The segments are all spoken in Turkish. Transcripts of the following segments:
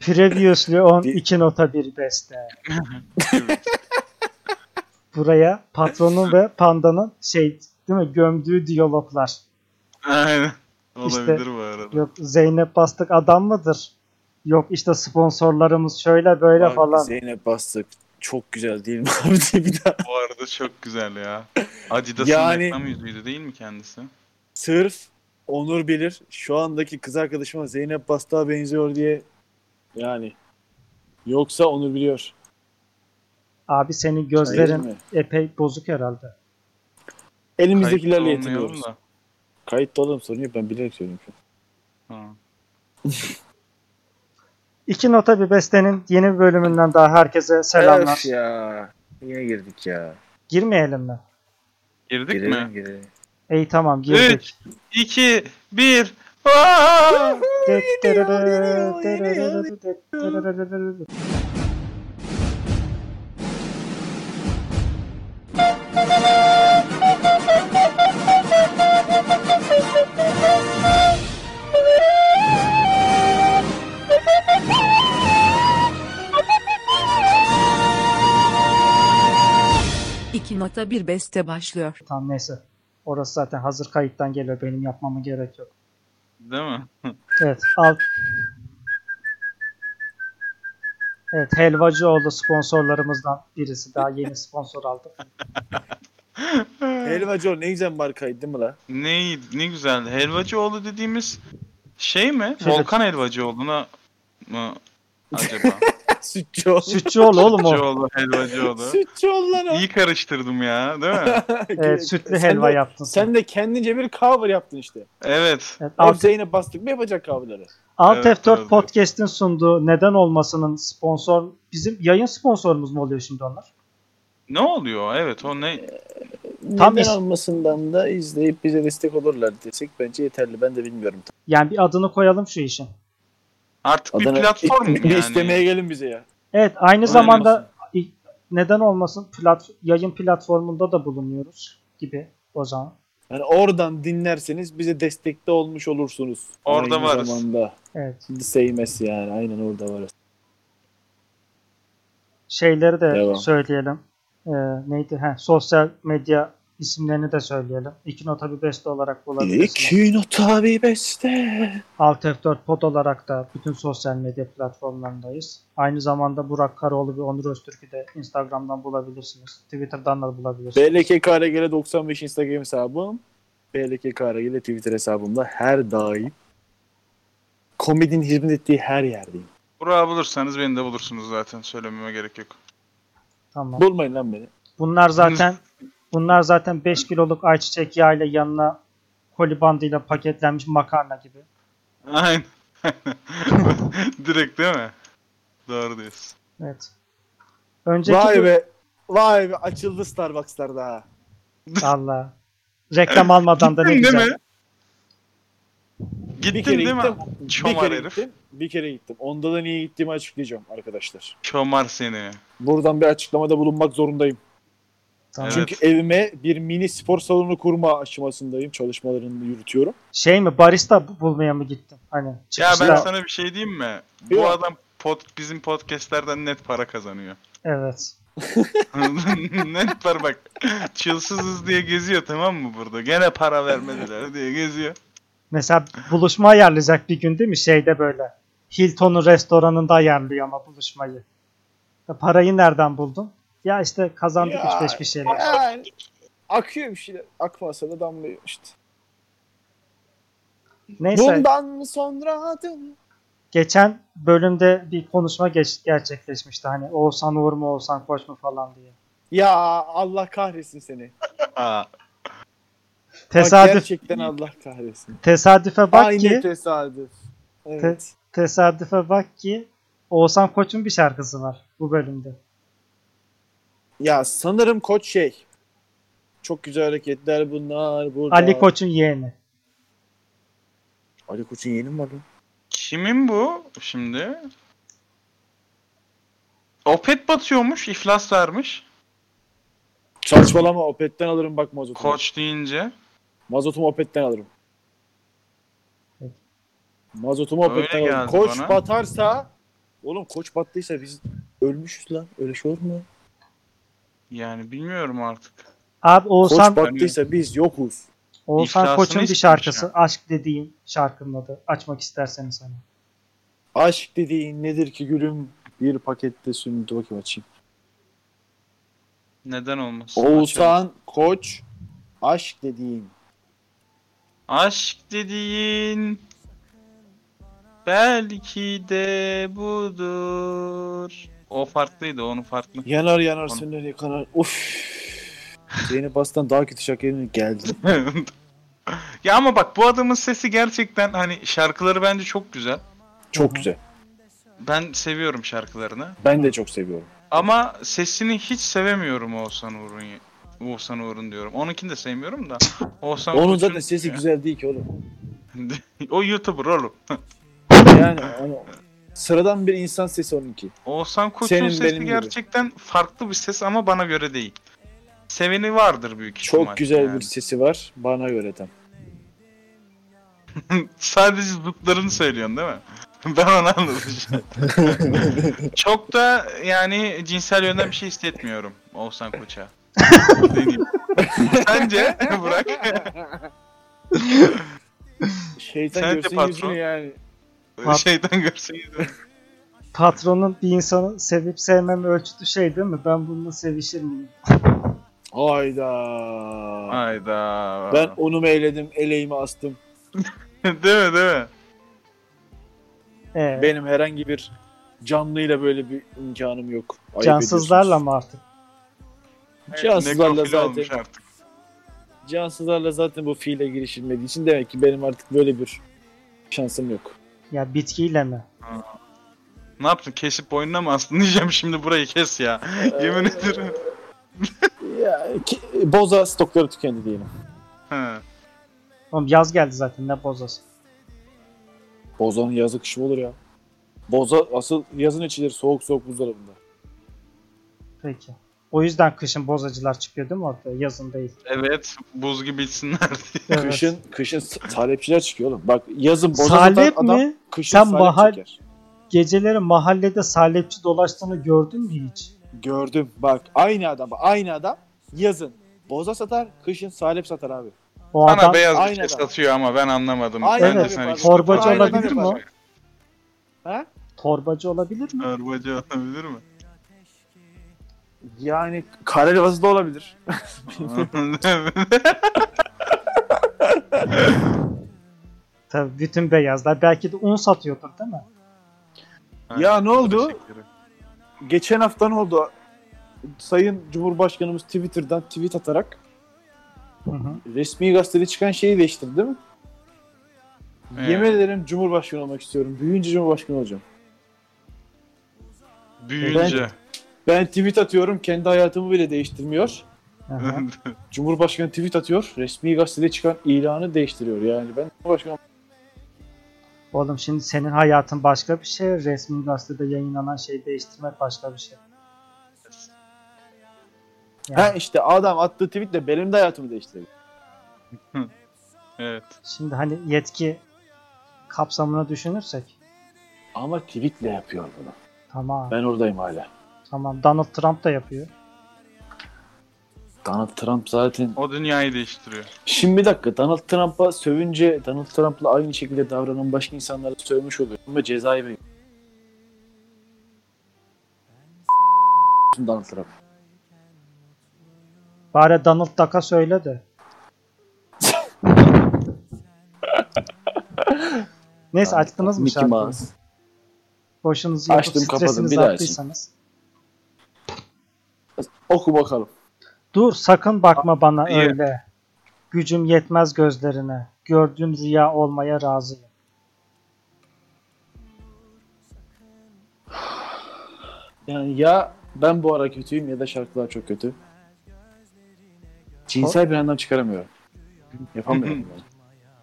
Previously on 2.1 beste. Buraya patronun ve pandanın şey değil mi gömdüğü diyaloglar. Aynen. Olabilir İşte- bu arada. Yok Zeynep Bastık adam mıdır? Yok işte sponsorlarımız şöyle böyle Abi falan. Zeynep Bastık çok güzel değil mi abi diye bir daha. Bu arada çok güzel ya. Adidas'ın Yani- reklam yüzüydü değil mi kendisi? Sırf Onur bilir şu andaki kız arkadaşıma Zeynep Bastık'a benziyor diye yani yoksa Onur biliyor. Abi senin Hayır gözlerin mi? epey bozuk herhalde. Elimizdekilerle Kayıtta olmayalım yetiniyoruz. da. Kayıtta olalım sorun yok ben bilerek söylüyorum şu an. Ha. 2.1 bestenin yeni bir bölümünden daha herkese selamlar. Öf ya. Yine girdik ya. Girmeyelim mi? Girdik Girelim mi? girelim. İyi tamam girdik. 2, 1. İki nota bir beste başlıyor. Tamam neyse. Orası zaten hazır kayıttan geliyor. Benim yapmama gerek yok. Değil mi? Evet al. Evet Helvacıoğlu sponsorlarımızdan birisi. Daha yeni sponsor aldık. Helvacı ne güzel markaydı değil mi la? ne, ne güzeldi. Helvacıoğlu dediğimiz şey mi? Evet. Volkan Helvacıoğlu'na mı acaba? Sütçü ol. Sütçüoğlu oğlum o. Helvacıoğlu, Helvacıoğlu. Sütçü ol lan o. İyi karıştırdım ya değil mi? Evet sütlü Sen helva de- yaptın sen. Sen de kendince bir cover yaptın işte. Evet. Evet, Hep Alt, Zeynep Bastık mı yapacak coverları? Alt Evet, F4 evet. Podcast'in sunduğu Neden Olmasının sponsor bizim yayın sponsorumuz mu oluyor şimdi onlar? Ne oluyor? Evet o ne? Tam Neden is- almasından da izleyip bize destek olurlar desek bence yeterli. Ben de bilmiyorum. Yani bir adını koyalım şu işin. Artık Adana- bir platform mu Bir istemeye yani? gelin bize ya. Evet aynı Neden zamanda i- neden olmasın plat, yayın platformunda da bulunuyoruz gibi o zaman. Yani oradan dinlerseniz bize destekte olmuş olursunuz. Orada Aynı varız. Zamanda. Evet. Seymes yani aynen orada varız. Şeyleri de Devam. söyleyelim. Ee, neydi? Heh, sosyal medya isimlerini de söyleyelim. 2.1 beste olarak bulabilirsiniz. İki nota bir beste. Alt F4 Pod olarak da bütün sosyal medya platformlarındayız. Aynı zamanda Burak Karoğlu ve Onur Öztürk'ü de Instagram'dan bulabilirsiniz. Twitter'dan da bulabilirsiniz. BLKKRG'le 95 Instagram hesabım. BLKKRG'le Twitter hesabımda her daim komedinin hizmet ettiği her yerdeyim. Burak'ı bulursanız beni de bulursunuz zaten. Söylememe gerek yok. Tamam. Bulmayın lan beni. Bunlar zaten bunlar zaten 5 kiloluk ayçiçek yağıyla yanına koli bandıyla paketlenmiş makarna gibi. Aynen. Direkt değil mi? Doğru diyorsun. Evet. Önceki Vay böl- be. Vay be açıldı Starbucks'lar daha. Allah. Reklam almadan da ne Gittin güzel. değil mi? Gittin Bir kere değil gittim. mi? bir Çomar kere herif. gittim. Bir kere gittim. Onda da niye gittiğimi açıklayacağım arkadaşlar. Çomar seni. Buradan bir açıklamada bulunmak zorundayım. Tamam. Evet. Çünkü evime bir mini spor salonu kurma aşamasındayım. Çalışmalarını yürütüyorum. Şey mi barista bu- bulmaya mı gittin? Hani Ya çıkışta. ben sana bir şey diyeyim mi? Bu Yok. adam pod, bizim podcastlerden net para kazanıyor. Evet. net para bak. Çılsızız diye geziyor tamam mı burada? Gene para vermediler diye geziyor. Mesela buluşma ayarlayacak bir gün değil mi? Şeyde böyle. Hilton'un restoranında ayarlıyor ama buluşmayı. Ya Parayı nereden buldun? Ya işte kazandık Ya. 3-5 bir şeyler. Yani akıyor bir şeyler. Akmasa da damlıyor işte. Neyse. Bundan sonra adım. geçen bölümde bir konuşma geç- gerçekleşmişti. Hani Oğuzhan Uğur mu Oğuzhan Koç mu falan diye. Ya Allah kahretsin seni. Aa, Bak Tesadüf gerçekten Allah kahretsin. tesadüfe bak Aynı ki tesadüf. Evet. tesadüfe bak ki Oğuzhan Koç'un bir şarkısı var bu bölümde. Ya sanırım koç şey. Çok güzel hareketler bunlar burada. Ali Koç'un yeğeni. Ali Koç'un yeni mi var lan? kimin bu şimdi? Opet batıyormuş, iflas vermiş. Saçmalama Opet'ten alırım bak mazotumu. Koç deyince. Mazotumu Opet'ten alırım. Mazotu Öyle muhabbeti var. geldi Koç bana. batarsa oğlum koç battıysa biz ölmüşüz lan. Öyle şey olur mu? Yani bilmiyorum artık. Abi Oğuzhan, koç battıysa biz yokuz. Oğuzhan iflasını Koç'un bir istemiş şarkısı. ya. Aşk dediğin şarkının adı. Açmak isterseniz hani. Aşk dediğin nedir ki gülüm? Bir pakette sünnetü bakayım açayım. Neden olmasın? Açalım. Oğuzhan Koç aşk dediğin. Aşk dediğin belki de budur. O farklıydı, onu farklı. Yanar yanar Onu- sönür yakanar. Of. Zeynep Aslan daha kötü şarkı yerine geldi. ya ama bak bu adamın sesi gerçekten hani şarkıları bence çok güzel. Çok güzel. Ben seviyorum şarkılarını. Ben de çok seviyorum. Ama sesini hiç sevemiyorum Oğuzhan Uğur'un. Oğuzhan Uğur'un diyorum. Onunkini de sevmiyorum da. Oğuzhan Onun Koç'un- zaten sesi güzel değil ki oğlum. o YouTuber oğlum. Yani hani sıradan bir insan sesi onunki. Oğuzhan Koç'un Senin sesi benim gibi. gerçekten farklı bir ses ama bana göre değil. Seveni vardır büyük ihtimal. Çok güzel yani. bir sesi var bana göre tam. Sadece zıplarını söylüyorsun değil mi? Ben onu anladım. şimdi. Çok da yani cinsel yönden bir şey hissetmiyorum Oğuzhan Koç'a. Ne diyeyim? Sence Burak? Şeytan Sence görsün patron? yüzünü yani. Şeytan görseydin. Patronun bir insanı sevip sevmem ölçütü şey değil mi? Ben bununla sevişir miyim? Hayda. Hayda. Ben onu meyledim, eleğimi astım. değil mi değil mi? Ee, Benim herhangi bir canlıyla böyle bir imkanım yok. Ayıp cansızlarla ediyorsunuz. mı artık? Cansızlarla Nekrofili zaten. olmuş artık. Cansızlarla zaten bu fiile girişilmediği için demek ki benim artık böyle bir şansım yok. Ya bitkiyle mi? Ne yaptın? Kesip boynuna mı astın diyeceğim şimdi burayı kes ya. Yemin ederim. Ya, ki- boza stokları tükendi diyelim. Ha. Oğlum yaz geldi zaten ne bozası. Bozanın yazı kışı mı olur ya. Boza asıl yazın içilir soğuk soğuk buzdolabında. Peki. O yüzden kışın bozacılar çıkıyor değil mi orada? Yazın değil. Evet buz gibi içsinler diye. Evet. Kışın kışın s- salepçiler çıkıyor oğlum. Bak yazın boza Salep satan adam mi? kışın Sen salep bahar- çeker. Geceleri mahallede salepçi dolaştığını gördün mü hiç? Gördüm bak aynı adam aynı adam yazın boza satar kışın salep satar abi. O Bana adam beyaz bir aynı şey adam. satıyor ama ben anlamadım. Aynı Bence adam. sen Evet, hiç- torbacı Aynı olabilir adam. mi o? Ha? torbacı olabilir mi? Torbacı olabilir mi? Yani kara da olabilir. Tabii bütün beyazlar. Belki de un satıyordur değil mi? Ya ne oldu? Geçen hafta ne oldu? Sayın Cumhurbaşkanımız Twitter'dan tweet atarak Hı hı. resmi gazetede çıkan şeyi değiştirdi değil mi? Evet. Yemin ederim Cumhurbaşkanı olmak istiyorum. Büyüyünce Cumhurbaşkanı olacağım. Büyüyünce. Ben tweet atıyorum kendi hayatımı bile değiştirmiyor. Hı hı. Cumhurbaşkanı tweet atıyor. Resmi gazetede çıkan ilanı değiştiriyor. Yani ben Cumhurbaşkanı Oğlum şimdi senin hayatın başka bir şey. Resmi gazetede yayınlanan şeyi değiştirmek başka bir şey. Yani Ha işte adam attığı tweetle benim de hayatımı değiştirdi. evet. Şimdi hani yetki kapsamına düşünürsek Ama tweetle yapıyor bunu. tamam Ben oradayım hala. tamam Donald Trump da yapıyor. Donald Trump zaten... O dünyayı değiştiriyor. Şimdi bir dakika Donald Trump'a sövünce Donald Trump'la aynı şekilde davranan başka insanlara sövmüş oluyor. Ama cezayı veriyor. Donald Trump. Bari Donald Duck'a söyle de. Neyse açtınız mı Mickey şarkıyı? Mouse. Boşunuzu yapıp Açtım, kapadım. stresinizi Bir daha açayım. attıysanız. Oku bakalım. Dur sakın bakma bana iyi. öyle. Gücüm yetmez gözlerine. Gördüğüm rüya olmaya razıyım. Yani ya ben bu ara kötüyüm ya da şarkılar çok kötü. Cinsel bir anlam çıkaramıyorum. Yapamıyorum. yani.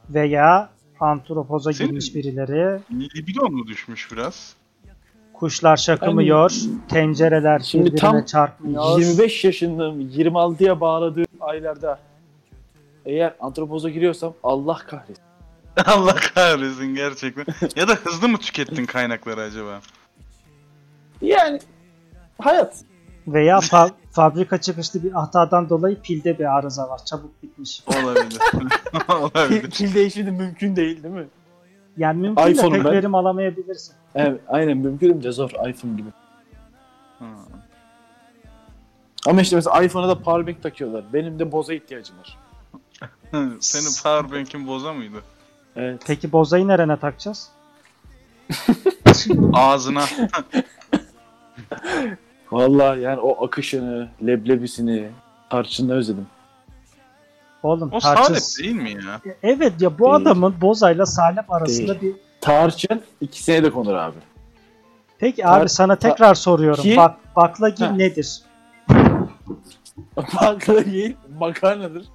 Veya antropoza Senin- girmiş birileri. Libido mu düşmüş biraz? Kuşlar şakımıyor. Tencereler Şimdi birbirine tam çarpmıyor. 25 yaşındayım. 26'ya bağladığım aylarda eğer antropoza giriyorsam Allah kahretsin. Allah kahretsin gerçekten. Ya da hızlı mı tükettin kaynakları acaba? Yani hayat. Veya fa- fabrika çıkışlı bir hatadan dolayı pilde bir arıza var. Çabuk bitmiş. Olabilir. Olabilir. Pil değişimi de mümkün değil değil mi? Yani mümkün de iPhone'um pek ben. verim alamayabilirsin. Evet, aynen mümkün de zor iPhone gibi. Hı. Ama işte mesela iPhone'a da powerbank takıyorlar. Benim de boza ihtiyacım var. Hı, Senin powerbank'in boza mıydı? Evet. Peki bozayı nerene takacağız? Ağzına. Vallahi yani o akışını, leblebisini, tarçınla özledim. Oğlum O tarçın... Salep değil mi ya? Evet ya bu Değil. adamın bozayla salep arasında bir... Tarçın ikisine de konur abi. Peki Tar- abi sana ta- tekrar soruyorum. Ki- Bak baklagil Ha. nedir? Bakla değil, makarnadır.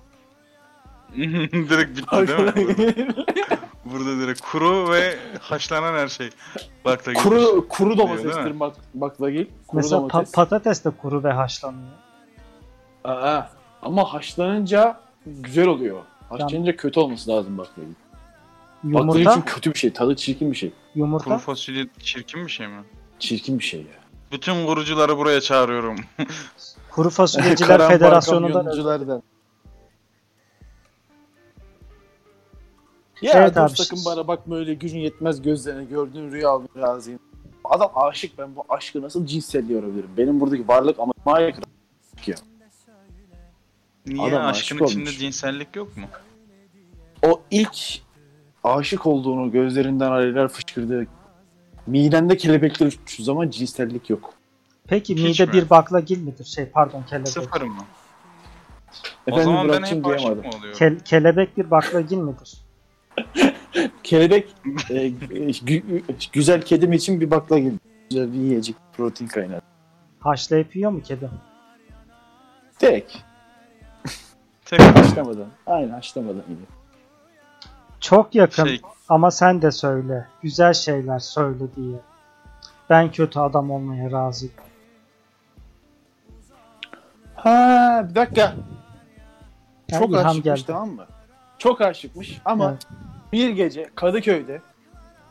direkt bitti değil Bakla mi? değil. Burada direkt kuru ve haşlanan her şey. Bak da gitmiş. kuru kuru Değil mi? domatestir bak, bakla değil. Kuru Mesela pa- domates. patates de kuru ve haşlanıyor. Aa, ama haşlanınca güzel oluyor. Haşlanınca kötü olması lazım bakla değil. Bakla değil Yumurta, çünkü kötü bir şey, tadı çirkin bir şey. Kuru yumurta. fasulye çirkin bir şey mi? Çirkin bir şey ya. Bütün kurucuları buraya çağırıyorum. Kuru Fasulyeciler Federasyonu'ndan kamyonculardan. Evet Ya evet abi. sakın bana bakma öyle gücün yetmez gözlerine gördüğün rüya alın razıyım. Adam aşık ben bu aşkı nasıl cinselliğe yorabilirim? Benim buradaki varlık ama maya kadar. Niye Adam aşkın aşık içinde olmuş. cinsellik yok mu? O ilk aşık olduğunu gözlerinden alevler fışkırdı. Midende kelebekler uçtuğu zaman cinsellik yok. Peki Hiç mide mi? bir baklagil midir? Şey pardon kelebek. Sıfır mı? o Efendim zaman ben Burak'cığım hep aşık duyamadım. mı oluyorum? Ke- kelebek bir baklagil midir? Kelebek e, gü- güzel kedim için bir bakla gibi. Güzel bir yiyecek protein kaynağı. Haşlayıp yiyor mu kedi? Direkt. Tekrar Haşlamadan. Aynen haşlamadan iyi. Çok yakın şey, ama sen de söyle. Güzel şeyler söyle diye. Ben kötü adam olmaya razıyım. Ha bir dakika. Ya Çok ilham aşıkmış geldi. tamam mı? Çok aşıkmış ama Evet. bir gece Kadıköy'de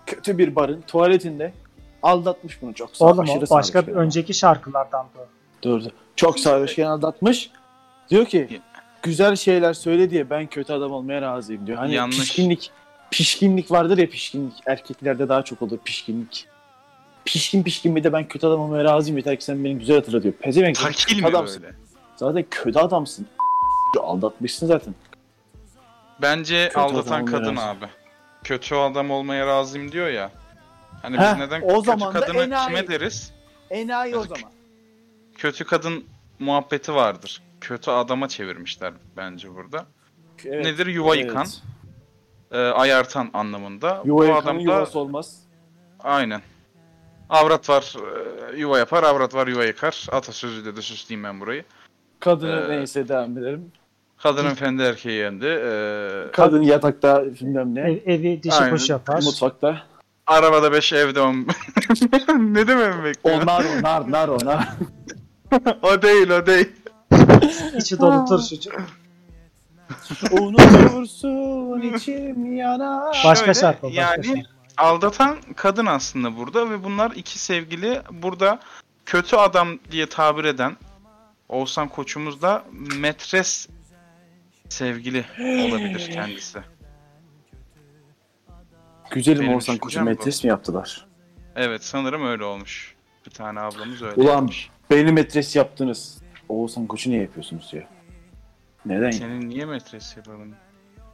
kötü bir barın tuvaletinde aldatmış bunu çok sağ Oğlum aşırı o başka bir sarhoşken. önceki şarkılardan bu. Dur dur. Çok sarhoşken aldatmış. Diyor ki güzel şeyler söyle diye ben kötü adam olmaya razıyım diyor. Hani Yanlış. pişkinlik pişkinlik vardır ya pişkinlik. Erkeklerde daha çok olur pişkinlik. Pişkin pişkin bir de ben kötü adam olmaya razıyım yeter ki sen beni güzel hatırla diyor. Pezevenk sen takil mi kötü adamsın. böyle? Zaten kötü adamsın. Aldatmışsın zaten. Bence Kötü adam aldatan olmaya kadın razı. abi. Kötü adam olmaya razıyım diyor ya. Hani Heh, biz neden o kötü zaman da kadını enayi. kime deriz? Enayi o zaman. Kötü kadın muhabbeti vardır. Kötü adama çevirmişler bence burada. Evet, Nedir? Yuva evet. yıkan, e, ayartan anlamında. Yuva Bu yıkanın adam da yuvası olmaz. aynen. Avrat var e, yuva yapar, avrat var yuva yıkar. Atasözüyle de süsleyeyim ben burayı. Kadını Ee, neyse devam edelim. Kadının fendi erkeği yendi. E, Kadın yatakta bilmem ne. Ev- E, evi dişi Aynen. kuş yapar. Mutfakta. Arabada 5 evde 10. ne demem bekliyor? Onlar onlar onlar onlar. O değil o değil. İçi dolu turşucuk. Unutursun içim yanar. Başka şarkı, başka yani şarkı. aldatan kadın aslında burada ve bunlar iki sevgili burada kötü adam diye tabir eden Oğuzhan koçumuz da metres sevgili olabilir kendisi. Güzelim Benim Oğuzhan Koç'u düşüncem bu. metres mi yaptılar? Evet sanırım öyle olmuş. Bir tane ablamız öyle. Ulan şey. beni metres yaptınız. Oğuzhan Koç'u niye yapıyorsunuz ya? Neden ya? Senin niye metres yapalım?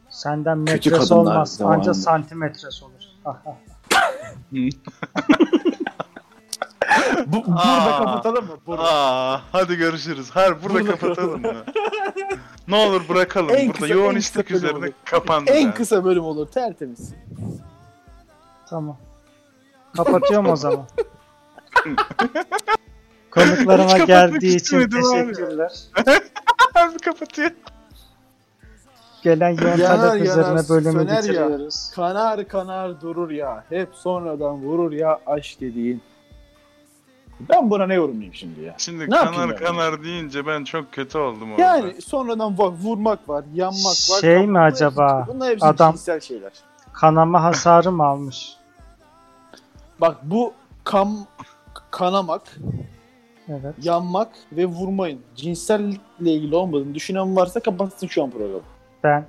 Senden Kötü metres kadınlar olmaz. zamanında. Anca santimetres olur. Ah, ah. Bu, Aa. burada kapatalım mı? Burada. Aa, hadi görüşürüz. Her burada kapatalım mı? ne olur bırakalım. En burada kısa- yoğun en istek kısa bölüm üzerine olur. kapandı. En yani. kısa bölüm olur tertemiz. Tamam. Kapatıyorum o zaman. Konuklarıma Hiç kapatmak geldiği için istemedim abi. teşekkürler. Abi kapatıyor. Gelen yoğun Yanar talep yanar üzerine bölümü söner ya. bitiriyoruz. Kanar kanar durur ya. Hep sonradan vurur ya aşk dediğin. Ben buna ne yorumlayayım şimdi ya? Şimdi Ne yapayım kanar ben? kanar deyince ben çok kötü oldum orada. Yani sonradan va- vurmak var, yanmak var. Şey mi Bunlar acaba? hepsi- Bunlar hepsi Adam- cinsel şeyler. Kanama hasarı mı almış? Bak bu kam kanamak, Evet. yanmak ve vurmayın. Cinsellikle ilgili olmadığını düşünen varsa kapatsın şu an programı. Ben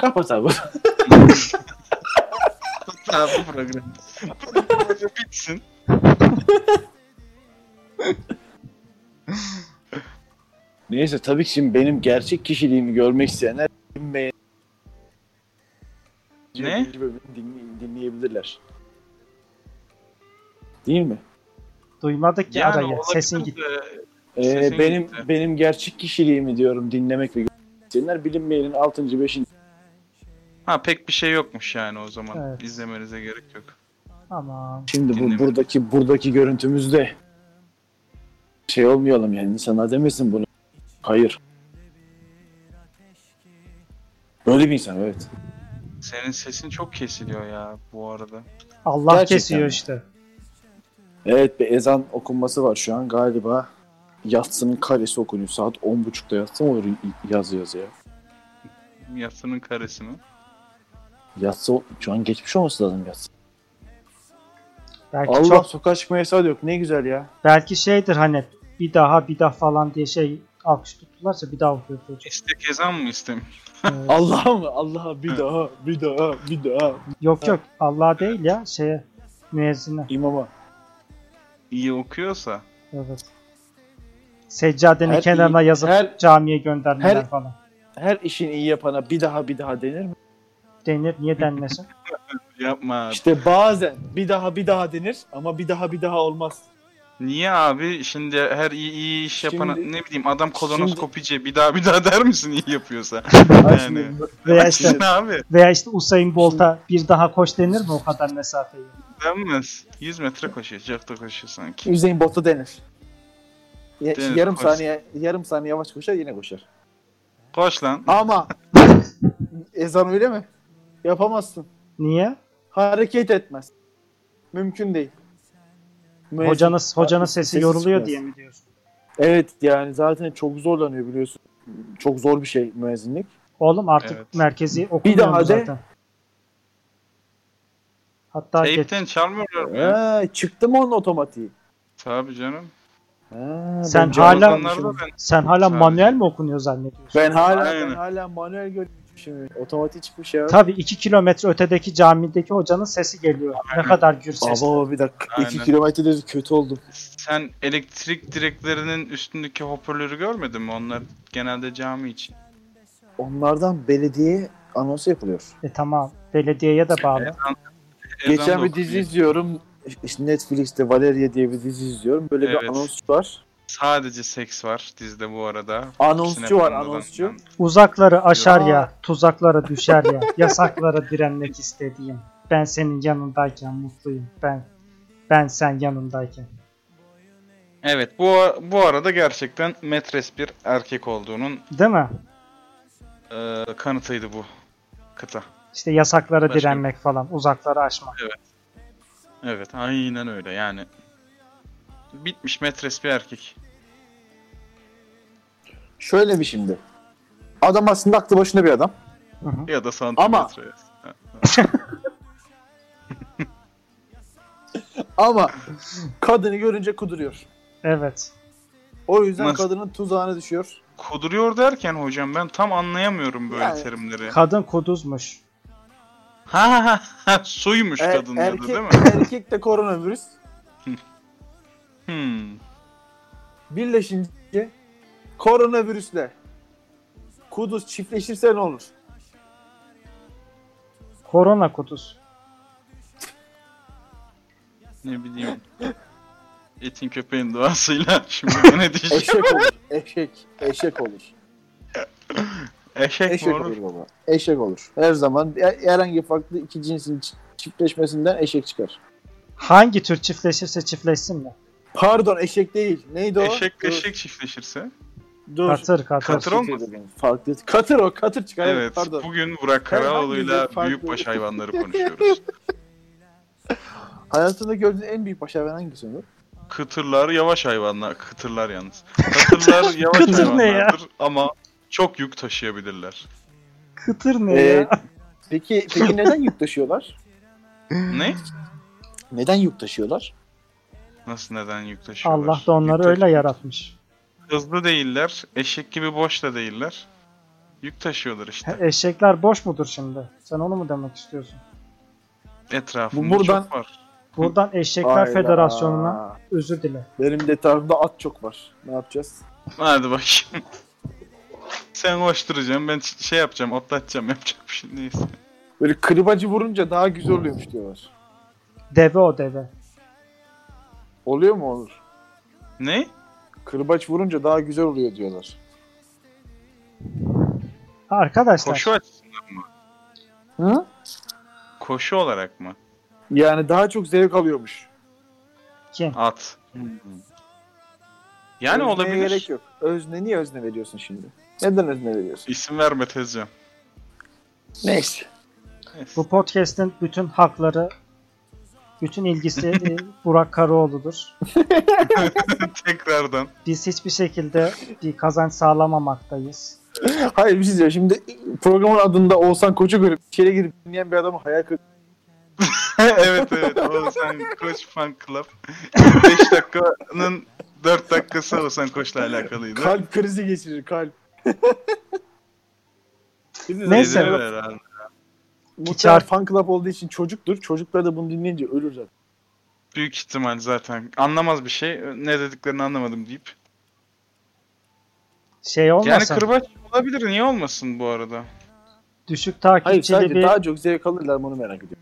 Kapat abi. Tamam bu program. Program bitsin. Neyse tabii ki şimdi benim gerçek kişiliğimi görmek isteyenler dinleyin. Ne? Birinci bölümünü dinley- dinleyebilirler. Değil mi? duymadık ki arayı. olabilir Sesin de, gitti. Ee, Sesin benim gitti. benim gerçek kişiliğimi diyorum dinlemek ve görmek isteyenler bilinmeyenin 6. 5. Ha pek bir şey yokmuş yani o zaman. Evet. İzlemenize gerek yok. Ama Şimdi bu Dinlemek. buradaki buradaki görüntümüzde şey olmayalım yani insana demesin bunu. Hayır. Böyle bir insan evet. Senin sesin çok kesiliyor ya bu arada. Allah Gerçekten kesiyor mi? işte. Evet bir ezan okunması var şu an galiba. Yatsının karesi okunuyor. Saat 10.30'da yatsı mı olur yazı yazıya? Yatsının karesi mi? Yatsı şu an geçmiş olması lazım yatsı. Belki Allah çok sokağa çıkma yasağı yok ne güzel ya. belki şeydir hani bir daha bir daha falan diye şey alkış tuttularsa bir daha okuyor çocuk. İstek ezan mı istemiyor? Ee, Allah mı? Allah bir daha bir daha bir daha. yok yok Allah değil ya şeye müezzine. İmama. İyi okuyorsa. Evet. Seccadenin Her kenarına iyi- yazıp her- camiye göndermeler her- falan. Her işin iyi yapana bir daha bir daha denir mi? Denir niye denmesin? Yapma abi. İşte bazen bir daha bir daha denir ama bir daha bir daha olmaz. Niye abi? Şimdi her iyi, iyi iş yapana Şimdi- ne bileyim adam kolonoskopiciye bir daha bir daha der misin iyi yapıyorsa? Ay Yani. şimdi veya işte ne abi? veya işte Usain Bolt'a bir daha koş denir mi o kadar mesafeyi? Denmez. 100 metre koşuyor. Çok da koşuyor sanki. Hüseyin Bolt'a denir. Ya- Denir, yarım koş. saniye yarım saniye yavaş koşar yine koşar. Koş lan. Ama ezan öyle mi? Yapamazsın. Niye? Hareket etmez. Mümkün değil. Müezzin- Hocanın hocanın sesi Sesi yoruluyor çıkmaz. diye mi diyorsun? Evet yani zaten çok zorlanıyor biliyorsun. Çok zor bir şey müezzinlik. Oğlum artık Evet. merkezi okumuyor daha mu de- zaten. Hatta geç- Teypten çalmıyorlar mı? ya? Ha, çıktı mı onun otomatiği? Tabii canım. Ha, Sen ben hala- Ramazanlarda ben- sen hala Tabii. manuel mi okunuyor zannediyorsun? Ben hala Aynen. ben hala manuel görmüşüm. Otomatik çıkmış ya. Tabii 2 kilometre ötedeki camideki hocanın sesi geliyor. Ne kadar gür sesi. Baba bir dakika. Aynen. 2 kilometrede kötü oldum. Sen elektrik direklerinin üstündeki hoparlörü görmedin mi? Onlar genelde cami için. Onlardan belediye anonsu yapılıyor. E tamam. Belediyeye de bağlı. Ezan da Geçen bir okunuyor. dizi izliyorum. İşte Netflix'te Valeria diye bir dizi izliyorum. Böyle Evet. bir anons var. Sadece seks var dizide bu arada. Anonsçu var Sinemadan- anonsçu. Uzakları aşar ya, Ya. tuzaklara düşer ya, yasaklara direnmek istediğim. Ben senin yanındayken mutluyum. Ben ben sen yanındayken. Evet bu bu arada gerçekten metres bir erkek olduğunun Değil mi? e, kanıtıydı bu kıta. İşte yasaklara Başka- direnmek falan, uzakları aşmak. Evet aynen öyle yani. Bitmiş metres bir erkek. Şöyle bir şimdi. Adam aslında aklı başında bir adam. Ya da santimetre. Ama kadını görünce kuduruyor. Evet. O yüzden Nasıl? kadının tuzağına düşüyor. Kuduruyor derken hocam ben tam anlayamıyorum böyle Yani- terimleri. Kadın kuduzmuş. Ha ha ha suymuş Er- kadın erkek, dedi değil mi? erkek de koronavirüs. Hmm. Birleşince koronavirüsle kuduz çiftleşirse ne olur? Korona kuduz. Ne bileyim. Etin köpeğin duasıyla şimdi ben ne diyeceğim? Eşek olur. Eşek. Eşek olur. Eşek, Eşek mi olur? olur baba. Eşek olur. Her zaman her- herhangi farklı iki cinsin çi- çiftleşmesinden eşek çıkar. Hangi tür çiftleşirse çiftleşsin mi? Pardon eşek değil. Neydi o? Eşek Dur, eşek çiftleşirse. Dur. Katır katır. Katır olmasın? Farklı. Katır o. Katır çıkar. Evet. Pardon. Bugün Burak Herhangi Karaoğlu'yla bir farklı- büyükbaş hayvanları konuşuyoruz. Hayatında gördüğün en büyük başarı hangisi olur? Kıtırlar yavaş hayvanlar. Kıtırlar yalnız. Kıtırlar yavaş Kıtır ne ya? hayvanlardır ama çok yük taşıyabilirler. Kıtır ne Ee, ya? Peki, peki neden yük taşıyorlar? Ne? Neden yük taşıyorlar? Nasıl neden yük taşıyorlar? Allah da onları Yük öyle yaratmış. taşı- Hızlı değiller. Eşek gibi boş da değiller. Yük taşıyorlar işte. Eşekler boş mudur şimdi? Sen onu mu demek istiyorsun? Etrafında Bu buradan- çok var. Buradan Eşekler Hayda. Federasyonu'na özür dile. Benim detayımda at çok var. Ne yapacağız? Hadi bak. Sen koşturacaksın ben ç- şey yapacağım otlatacağım yapacak bir şey neyse. Böyle kırbacı vurunca daha güzel oluyormuş diyorlar. Deve o deve. Oluyor mu Onur? Ne? Kırbaç vurunca daha güzel oluyor diyorlar. Arkadaşlar Koşu açısından Hı? koşu olarak mı? Yani daha çok zevk alıyormuş. kim? At. Yani Özneye olabilir. gerek yok. Özne niye özne veriyorsun şimdi? Neden özne veriyorsun? İsim verme tezcan. Neyse. Neyse. Bu podcast'in bütün hakları, bütün ilgisi e, Burak Karaoğlu'dur. Tekrardan. Biz hiçbir şekilde bir kazanç sağlamamaktayız. Hayır bir şey diyeceğim. Şimdi programın adında Oğuzhan Koç'u görüp içeri girip dinleyen bir adamı hayal kırıklığı. evet evet. Oğuzhan Koç Fan Club. 5 dakikanın 4 dakikası Oğuzhan Koç'la alakalıydı. Kalp krizi geçirir kalp. Biz de Neyse. Dediler herhalde. Muhtemelen Kiçer. fan club olduğu için çocuktur. Çocuklar da bunu dinleyince ölür zaten. Büyük ihtimal zaten anlamaz bir şey. Ne dediklerini anlamadım deyip. Şey Yani olmasa kırbaç olabilir. Niye olmasın bu arada? düşük Hayır takipçili sadece bir daha çok zevk alırlar mı onu merak ediyorum.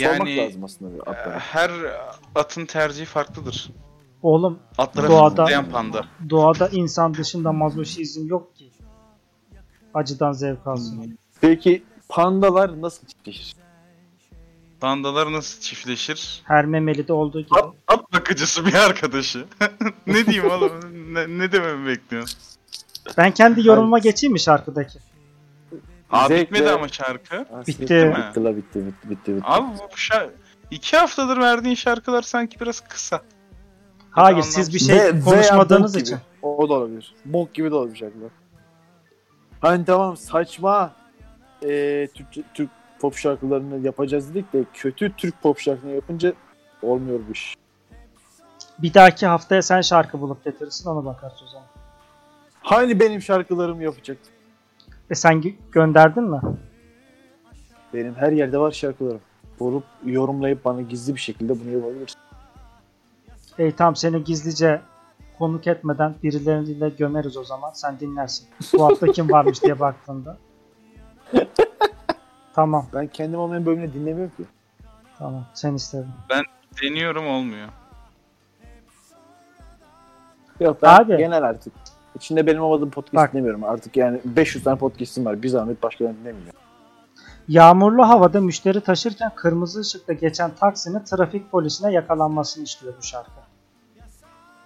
Sormak Yani- Ee, lazım aslında bir atlara. Her atın tercihi farklıdır. oğlum Atlara Doğada- fısıldayan panda. doğada insan dışında mazoşizm yok ki. Acıdan zevk Hmm. alsın. Peki pandalar nasıl çiftleşir? Pandalar nasıl çiftleşir? Her memeli de olduğu gibi. At, at bakıcısı bir arkadaşı. ne diyeyim oğlum? Ne, ne dememi bekliyorsun? Ben kendi yorumuma geçeyim mi şarkıdaki? Abi Zevkle- bitmedi ama şarkı. Bitti. mi? Bitti la bitti bitti bitti. bitti. Abi bu şarkı... İki haftadır verdiğin şarkılar sanki biraz kısa. Hayır anlamsız. siz bir şey Ve- veya konuşmadığınız bok için. Gibi. O da olabilir. Bok gibi de olabilir şarkılar. Hani tamam saçma eee, Türkçe- Türk pop şarkılarını yapacağız dedik de kötü Türk pop şarkılarını yapınca olmuyor bu iş. Bir dahaki haftaya sen şarkı bulup getirirsin ona bakarız o zaman. Hani benim şarkılarımı yapacak? E sen gö- gönderdin mi? Benim her yerde var şarkılarım. Vurup yorumlayıp bana gizli bir şekilde bunu yapabilirsin. Ey tam seni gizlice konuk etmeden birileriyle gömeriz o zaman. Sen dinlersin. Bu hafta kim varmış diye baktığında. tamam Ben kendim olmayan bölümünü dinlemiyorum ki. tamam sen istedin. Deniyorum olmuyor. Yok ben Abi. genel artık. İçinde benim olmadığım podcast Bak. dinlemiyorum artık. Yani 500 tane podcast'im var. Bir zahmet başkalarını dinlemiyorum. Yağmurlu havada müşteri taşırken kırmızı ışıkta geçen taksinin trafik polisine yakalanmasını istiyor bu şarkı.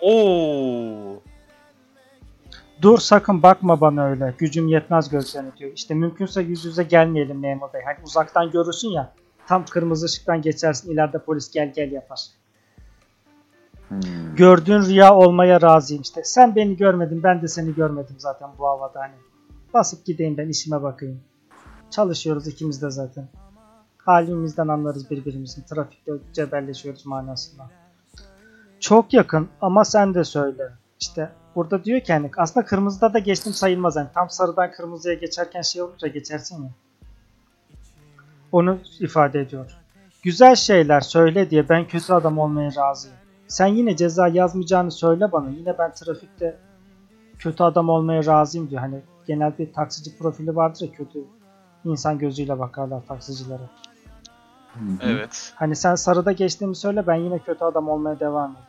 Oo. Dur sakın bakma bana öyle. Gücüm yetmez gözlerine diyor. İşte mümkünse yüz yüze gelmeyelim memur bey. Hani uzaktan görürsün ya. Tam kırmızı ışıktan geçersin ileride polis gel gel yapar. Gördüğün rüya olmaya razıyım işte. Sen beni görmedin ben de seni görmedim zaten bu havada hani. Basıp gideyim ben işime bakayım. Çalışıyoruz ikimiz de zaten. Halimizden anlarız birbirimizin. Trafikte cebelleşiyoruz manasında. Çok yakın ama sen de söyle. İşte burada diyor ki hani aslında kırmızıda da geçtim sayılmaz. Yani tam sarıdan kırmızıya geçerken şey olunca geçersin ya. Onu ifade ediyor. Güzel şeyler söyle diye ben kötü adam olmaya razıyım. Sen yine ceza yazmayacağını söyle bana. Yine ben trafikte kötü adam olmaya razıyım diyor. Hani genel bir taksici profili vardır ya kötü insan gözüyle bakarlar taksicilere. Hmm. Evet. Hani sen sarıda geçtiğimi söyle ben yine kötü adam olmaya devam edeyim.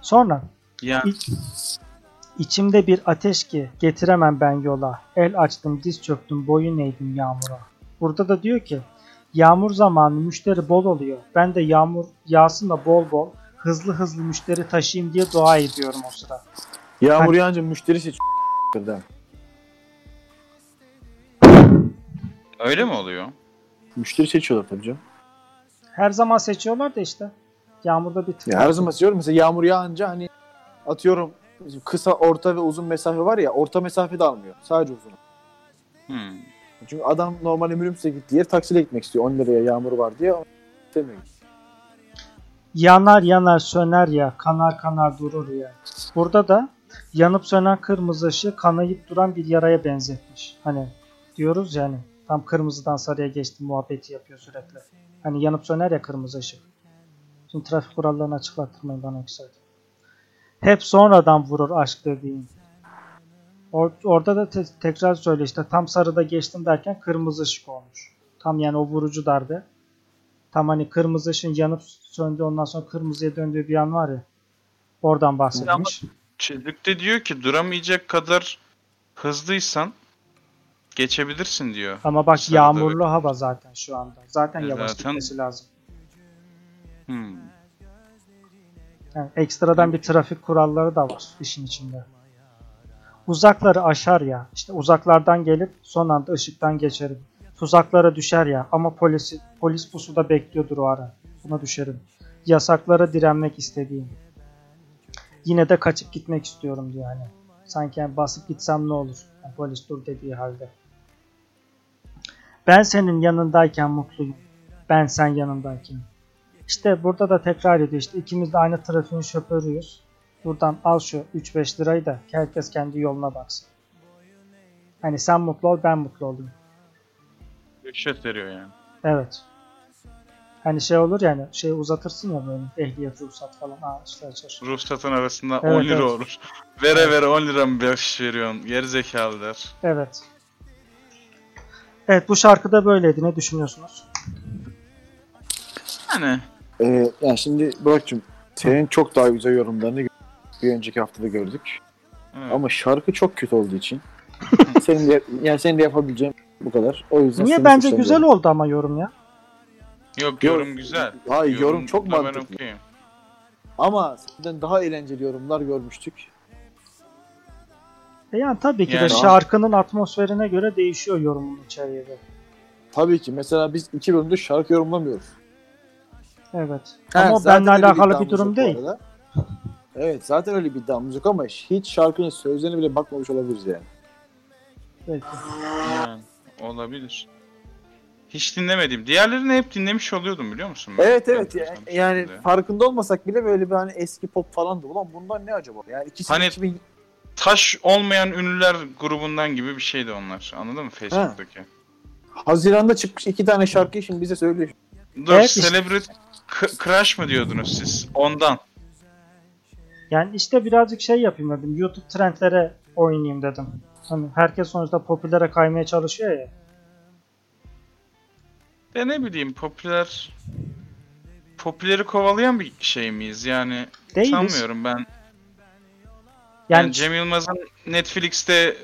Sonra Yani İçimde bir ateş ki getiremem ben yola. El açtım, diz çöktüm, boyun eğdim yağmura. Burada da diyor ki yağmur zamanı müşteri bol oluyor. Ben de yağmur yağsın da bol bol hızlı hızlı müşteri taşıyayım diye dua ediyorum o sıra. Yağmur yağınca müşteri seç birden. öyle mi oluyor? Müşteri seçiyorlar tabii canım. Her zaman seçiyorlar da işte. Yağmurda bir tık. Ya her zaman diyorum mesela yağmur yağınca hani atıyorum kısa, orta ve uzun mesafe var ya orta mesafe de almıyor. Sadece uzun. Hmm. Çünkü adam normal minibüse gittiği yer taksiyle gitmek istiyor. 10 liraya yağmur var diye ama istemiyor. Yanar yanar söner ya, kanar kanar durur ya. Burada da yanıp sönen kırmızı ışığı kanayıp duran bir yaraya benzetmiş. Hani diyoruz ya hani tam kırmızıdan sarıya geçti muhabbeti yapıyor sürekli. Hani yanıp söner ya kırmızı ışık. Şimdi trafik kurallarını açıklattırmayın bana yükseldi. Hep sonradan vurur aşk dediğin. Or- orada da te- tekrar söyle işte tam sarıda geçtim derken kırmızı ışık olmuş. Tam yani o vurucu darbe. Tam hani kırmızı ışığın yanıp söndü ondan sonra kırmızıya döndüğü bir an var ya. Oradan bahsetmiş. Çizlikte diyor ki duramayacak kadar hızlıysan geçebilirsin diyor. Ama bak Sarıda yağmurlu hava zaten şu anda. Zaten E, yavaş zaten- gitmesi lazım. Hmm. Yani ekstradan bir trafik kuralları da var işin içinde. Uzakları aşar ya. İşte uzaklardan gelip son anda ışıktan geçerim. Tuzaklara düşer ya ama polisi, polis pusuda bekliyordur o ara. Buna düşerim. Yasaklara direnmek istediğim. Yine de kaçıp gitmek istiyorum diyor hani. Sanki yani basıp gitsem ne olur? Yani polis dur dediği halde. Ben senin yanındayken mutluyum. Ben sen yanındayken. İşte burada da tekrar ediyor işte ikimiz de aynı trafiğin şoförüyüz. Buradan al şu 3-5 lirayı da herkes kendi yoluna baksın. Hani sen mutlu ol ben mutlu olayım. Rüşvet veriyor yani. Evet. Hani şey olur yani şey uzatırsın ya böyle ehliyet ruhsat falan ha işte açar. Ruhsatın arasında Evet, 10 lira evet. olur. Vere vere 10 lira mı bahşiş veriyorsun? Geri zekalı der. Evet. Evet bu şarkıda böyleydi ne düşünüyorsunuz? Yani Ee, yani şimdi Burak'cığım senin çok daha güzel yorumlarını gö- bir önceki haftada gördük. evet. Ama şarkı çok kötü olduğu için senin de, yani senin de yapabileceğim bu kadar. O yüzden Niye seni bence suçlamıyorum. güzel oldu ama yorum ya. yok yorum güzel. Hayır yorum, çok da ben mantıklı. okuyayım. Ama senden daha eğlenceli yorumlar görmüştük. E yani tabii ki de Yani- şarkının atmosferine göre değişiyor yorumun içeriği de. Tabii ki mesela biz iki bölümde şarkı yorumlamıyoruz. Evet. Ha, ama zaten benimle öyle alakalı bir iddiamız durum yok bu değil. arada. Evet zaten öyle bir iddiamız yok ama hiç şarkının sözlerine bile bakmamış olabiliriz yani. Belki. Yani, olabilir. Hiç dinlemedim. Diğerlerini hep dinlemiş oluyordum biliyor musun? ben? Evet evet Yani yani, yani şimdi. farkında olmasak bile böyle bir hani eski pop falan da ulan bundan ne acaba? Yani ikisi Hani- 2000 Taş olmayan ünlüler grubundan gibi bir şeydi onlar. Anladın mı Facebook'taki? Haziran'da çıkmış iki tane şarkıyı şimdi bize söylüyor. Dur, Evet, işte- Celebrity K- Crush mı diyordunuz siz? Ondan. Yani işte birazcık şey yapayım dedim. YouTube trendlere oynayayım dedim. Hani herkes sonuçta popülere kaymaya çalışıyor ya. De ne bileyim popüler popüleri kovalayan bir şey miyiz? Yani Değiliz. sanmıyorum ben. Yani, Yani Cem Yılmaz'ın Netflix'te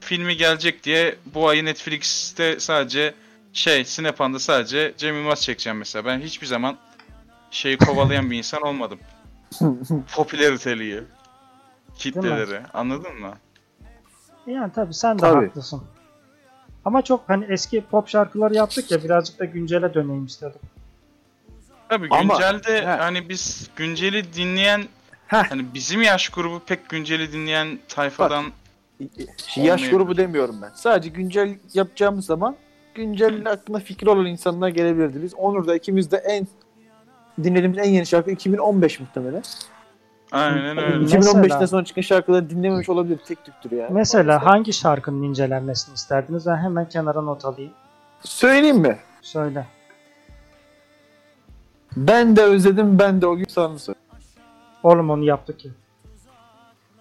filmi gelecek diye bu ayı Netflix'te sadece şey Sinepan'da sadece Cem Yılmaz çekeceğim mesela. Ben hiçbir zaman şeyi kovalayan bir insan olmadım. Popülariteliği, kitleleri. Anladın mı? yani tabii sen de Tabii. haklısın. Ama çok hani eski pop şarkıları yaptık ya birazcık da güncele döneyim istedim. Tabii Ama- güncelde He. hani biz günceli dinleyen Heh. hani bizim yaş grubu pek günceli dinleyen tayfadan Şey, Yaş Olmayabilir. grubu demiyorum ben. Sadece güncel yapacağımız zaman güncel hakkında fikri olan insanlar gelebilirdi. Biz Onur'da ikimiz de en dinlediğimiz en yeni şarkı 2015 muhtemelen. aynen öyle. Mesela- 2015'ten sonra çıkan şarkıları dinlememiş olabilir tek tüktür yani. Mesela hangi şarkının incelenmesini isterdiniz? Ben hemen kenara not alayım. Söyleyeyim mi? Söyle. Ben de özledim ben de o gün sana söyleyeyim. Oğlum onu yaptık ya.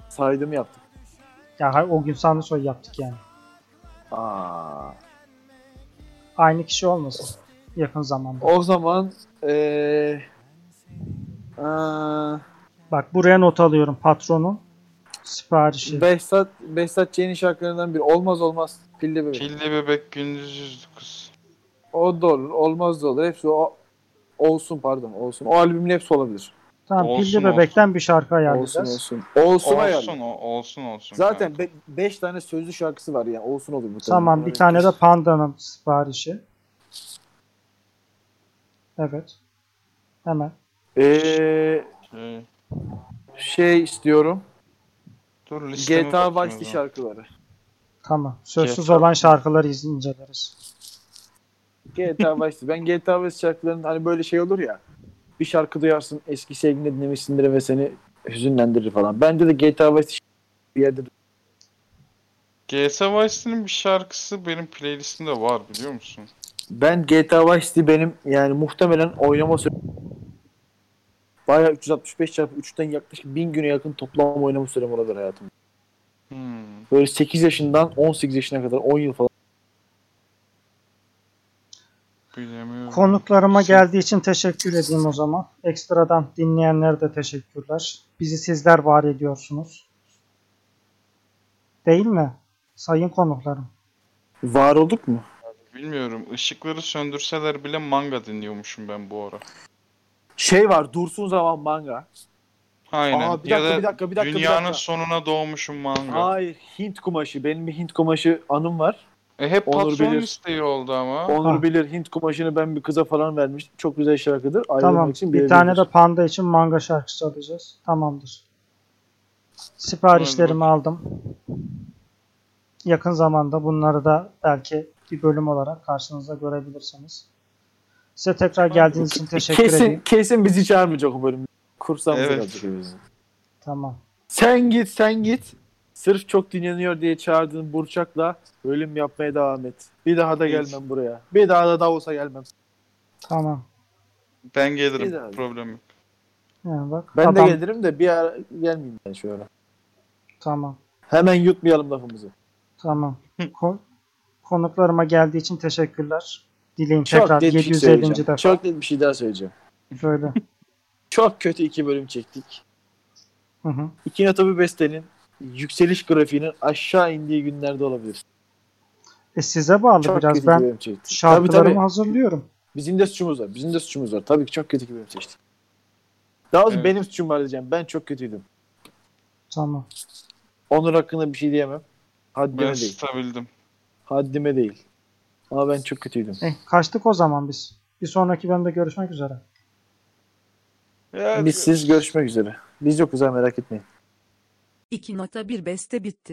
Saydım yaptık. Ya hay- o gün sana soy yaptık yani. Aa. Aynı kişi olmasın yakın zamanda. O zaman eee eee, Bak buraya not alıyorum patronun siparişi. Behzat, Behzat Ç'nin şarkılarından biri. Olmaz olmaz. Pilli bebek. Pilli bebek gündüz 109. O da olur. Olmaz da olur. Hepsi o. Olsun pardon. Olsun. O albümün hepsi olabilir. tamam Olsun, Pilli Bebek'ten bir şarkı ayarlayacağız. Olsun olsun. Olsun Olsun ayarlı. o olsun olsun. Zaten kanka. 5 tane sözlü şarkısı var yani. Olsun olur bu tabii. Tamam bir tane de pandanın siparişi. Evet. Hemen. Eee, Şey, Ee, şey istiyorum. dur listeme GTA bakayım o Vice'li zaman. şarkıları. Tamam. Sözsüz Jeff- olan şarkıları iz- inceleriz. GTA Vice'di. Ben GTA Vice şarkılarının hani böyle şey olur ya. Bir şarkı duyarsın eski sevgilini dinlemişsindir ve seni hüzünlendirir falan. Bence de GTA Vice bir yerde GS Vice'nin bir şarkısı benim playlistimde var biliyor musun? Ben GTA Vice City benim yani muhtemelen oynama süre bayağı 365 çarpı 3'ten yaklaşık 1000 güne yakın toplam oynama sürem oradır hayatım. Hmm. Böyle 8 yaşından 18 yaşına kadar 10 yıl falan. Bilemiyorum. Konuklarıma Şey- geldiği için teşekkür edeyim o zaman. Ekstradan dinleyenlere de teşekkürler. Bizi sizler var ediyorsunuz. Değil mi? Sayın konuklarım. Var olduk mu? Bilmiyorum. Işıkları söndürseler bile manga dinliyormuşum ben bu ara. Şey var dursun zaman manga. Aynen. Aa, bir ya dakika, da bir dakika, bir dakika, bir dünyanın dakika. sonuna doğmuşum manga. Hayır Hint kumaşı. Benim bir Hint kumaşı anım var. e hep Onur patron bilir. listeyi oldu ama. Onur Ha. bilir Hint kumaşını ben bir kıza falan vermiştim. Çok güzel şarkıdır. Ayrılmak tamam. için Bir tane de panda için manga şarkısı çalacağız. Tamamdır. Siparişlerimi aldım. Yakın zamanda bunları da belki bir bölüm olarak karşınıza görebilirsiniz. Size tekrar geldiğiniz için teşekkür kesin, ederim. kesin bizi çağırmayacak o bölüm. Kursamıza Evet. kalacak o yüzden. Tamam. Sen git sen git. Sırf çok dinleniyor diye çağırdığın Burçak'la bölüm yapmaya devam et. Bir daha da Evet. gelmem buraya. Bir daha da Davos'a gelmem. Tamam. Ben Bir daha. gelirim. Problem yok. Yani bak Ben adam- de gelirim de bir ara gelmeyeyim ben şu ara. Tamam. Hemen yutmayalım lafımızı. Tamam. Ko- konuklarıma geldiği için teşekkürler. Dileyim çok tekrar net bir şey söyleyeceğim. 750. defa Çok net bir şey daha söyleyeceğim. böyle. Çok kötü iki bölüm çektik. Hı hı. İki nota bir bestenin yükseliş grafiğinin aşağı indiği günlerde olabilir. E size bağlı Çok biraz kötü ben iki bölüm çektik. Tabii şarkılarımı tabii. hazırlıyorum. Bizim de suçumuz var. Bizim de suçumuz var. Tabii ki çok kötü iki bölüm seçtik. Daha doğrusu Evet. benim suçum var diyeceğim. Ben çok kötüydüm. Tamam. Onur hakkında bir şey diyemem. Haddime Ben değil. stabildim. Haddime değil. Ama ben çok kötüydüm. E, kaçtık o zaman biz. Bir sonraki bölümde görüşmek üzere. Ya, Biz siz görüşmek üzere. Biz yokuz ha merak etmeyin. 2.1 beste bitti.